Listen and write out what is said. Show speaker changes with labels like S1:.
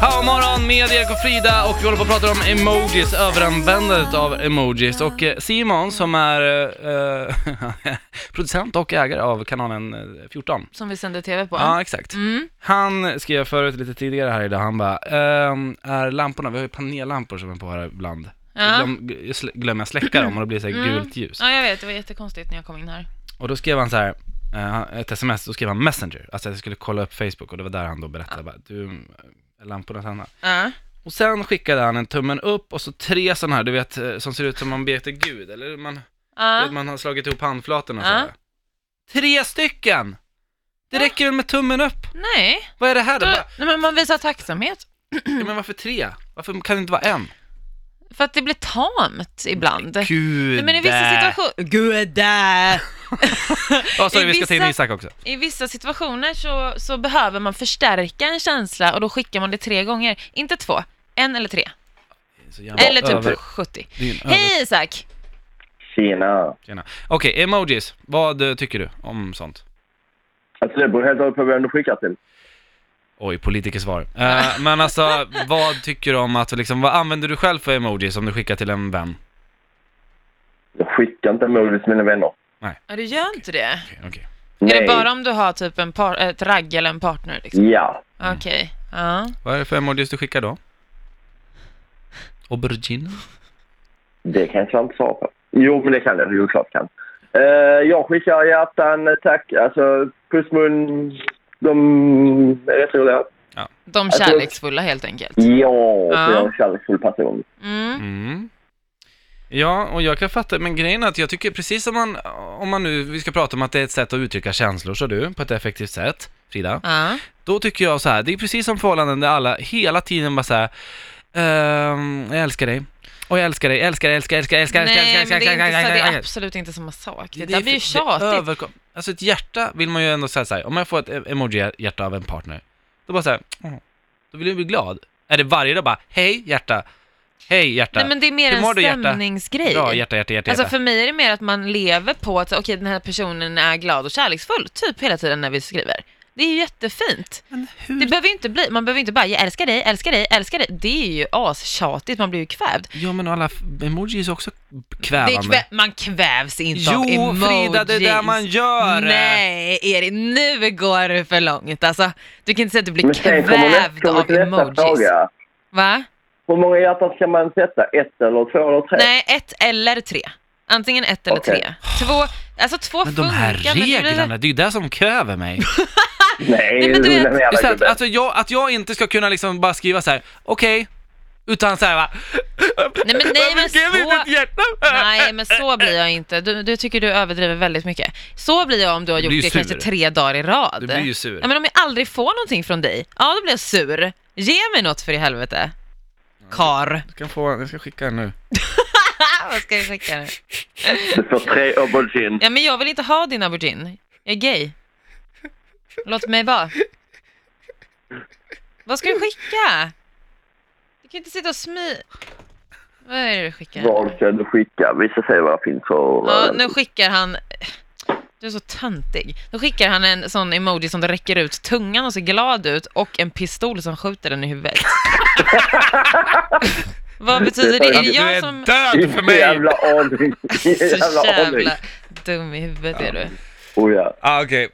S1: Ja, morgon med Erik och Frida och vi håller på att prata om emojis, överanvändandet av emojis och eh, Simon som är eh, producent och ägare av kanalen eh, 14.
S2: som vi sänder tv på.
S1: Ja, exakt.
S2: Mm.
S1: Han skrev förut lite tidigare här idag, han bara, ehm, är lamporna, vi har ju panellampor som är på här ibland,
S2: Ja.
S1: Glöm, g- slä- glömmer jag släcka dem och då blir det så här
S2: Mm.
S1: gult ljus.
S2: ja, jag vet. Det var jättekonstigt när jag kom in här.
S1: Och då skrev han så här, eh, han- ett sms, då skrev han Messenger, alltså att jag skulle kolla upp Facebook och det var där han då berättade, bara, du, är lamporna tända?
S2: Ja.
S1: Och sen skickade han en tummen upp och så tre sådana här, du vet, eh, som ser ut som man ber till Gud, eller man, du vet,
S2: Ja.
S1: man har slagit ihop handflatorna
S2: Ja.
S1: sådär. Tre stycken! Det räcker väl med tummen upp?
S2: Nej.
S1: Vad är det här?
S2: Då,
S1: Det bara,
S2: nej, men man visar tacksamhet.
S1: ja, men varför tre? Varför kan det inte vara en?
S2: För att det blir tamt ibland.
S1: Gud!
S2: Nej, men i vissa situationer... Gud!
S1: Ja, sorry,
S2: i
S1: vi ska ta in
S2: vissa-
S1: Isak också.
S2: I vissa situationer så, så behöver man förstärka en känsla och då skickar man det tre gånger. Inte två. En eller tre.
S1: Så jävla
S2: eller typ
S1: över-
S2: 70.
S1: det är en över-
S2: Hej Isak!
S3: Tjena!
S1: Tjena. Okej, emojis. Vad eh, tycker du om sånt?
S3: Alltså det beror helt och hållet på vem du skickar till.
S1: Oj, politikersvar. Eh, men alltså, vad tycker du om att liksom, vad använder du själv för emojis om du skickar till en vän?
S3: Jag skickar inte emojis till mina vänner.
S2: Ja, du gör inte det.
S1: Okej, okej.
S2: Är det bara om du har typ en par, ett ragg eller en partner? Liksom?
S3: Ja.
S1: Mm.
S2: Okej. Ja.
S1: Vad är det för emojis du skickar då? Aubergine?
S3: Det kan jag inte svara på. Jo, men det kan jag. Jo, klart kan. Eh, jag skickar hjärtan, tack, alltså pussmun. De är rätt roliga.
S2: De
S3: Alltså-
S2: kärleksfulla helt enkelt.
S3: Ja,
S2: Ja.
S3: för jag är en kärleksfull person.
S2: Mm.
S1: Mm. Ja, och jag kan fatta, men grejen är att jag tycker precis som man, om man nu, vi ska prata om att det är ett sätt att uttrycka känslor, så du, på ett effektivt sätt, Frida.
S2: Ja.
S1: Då tycker jag så här, det är precis som förhållanden där alla hela tiden bara så här, ehm, jag älskar dig, och jag älskar dig, älskar, älskar, älskar, älskar, älskar,
S2: Nej,
S1: älskar,
S2: men det är,
S1: älskar,
S2: inte, så-
S1: älskar,
S2: det är
S1: älskar.
S2: absolut inte samma sak. Det,
S1: är
S2: där blir ju
S1: för- det är
S2: tjatigt.
S1: överkom- Alltså ett hjärta vill man ju ändå säga så här, om jag får ett e- emoji-hjärta av en partner, då bara så här, "Åh." då vill jag bli glad. Är det varje dag bara, hej hjärta, hej hjärta,
S2: Nej, men det är mer
S1: Hur mår
S2: en
S1: du, hjärta?
S2: stämningsgrej.
S1: bra hjärta, hjärta, hjärta.
S2: Alltså för mig är det mer att man lever på att så, okej, den här personen är glad och kärleksfull, typ hela tiden när vi skriver. Det är ju jättefint.
S1: men hur?
S2: Det behöver ju inte bli, man behöver inte bara, jag älskar dig, älskar dig, älskar dig. Det är ju astjatigt, man blir ju kvävd.
S1: Ja men alla f- emojis är också
S2: Det
S1: kvävande.
S2: är kvä- man kvävs inte
S1: jo
S2: av emojis.
S1: Frida, det är det man gör!
S2: Nej, Erik, nu går det för långt alltså. Du kan inte säga att du blir
S3: Men sen kommer
S2: kvävd
S3: nästa, kommer
S2: av
S3: till nästa
S2: emojis.
S3: fråga.
S2: Va?
S3: Hur många hjärtan ska man sätta? Ett eller två eller tre?
S2: Nej, ett eller tre. Antingen ett eller
S3: Okej.
S2: tre. Två, alltså två
S1: Men de
S2: funkar.
S1: här
S2: men det-
S1: reglerna, det är ju det som kväver mig.
S3: Nej,
S2: Nej, men du
S3: lugna
S2: vet-
S3: ner dig,
S1: Det är så att,
S3: gubben.
S1: alltså, jag, att jag inte ska kunna liksom bara skriva så här, okej, utan så här va,
S2: Nej men, nej, men
S1: Varför skrev inte ett
S2: så...
S1: hjärta?
S2: Nej men så blir jag inte. Du, du tycker du överdriver väldigt mycket. Så blir jag om du har
S1: Du blir
S2: gjort det
S1: ju
S2: kanske
S1: sur.
S2: tre dagar i rad.
S1: Du blir ju sur.
S2: Ja, men om jag aldrig får någonting från dig, ja då blir jag sur. Ge mig något för i helvete. Kar.
S1: Jag, kan få, jag ska skicka en nu.
S2: Ah, Vad ska jag skicka nu?
S3: Du får tre aubergine.
S2: Ja men jag vill inte ha din aubergine. Jag är gay. Låt mig vara. Vad ska du skicka? Du kan ju inte sitta och smy... Vad är det du skickar?
S3: Vad ska du skicka? Vi ska se vad det finns för...
S2: Ja, nu skickar han... Du är så töntig. Då skickar han en sån emoji som räcker ut tungan och ser glad ut och en pistol som skjuter den i huvudet. Vad betyder det? Är det
S1: Alltså, du är
S2: jag som...
S1: död för
S3: Inte
S1: mig!
S3: jävla aning. Inte
S2: Så
S3: jävla aning.
S2: jävla dum i huvudet är du.
S3: Oh, ja.
S1: Ah, Okej,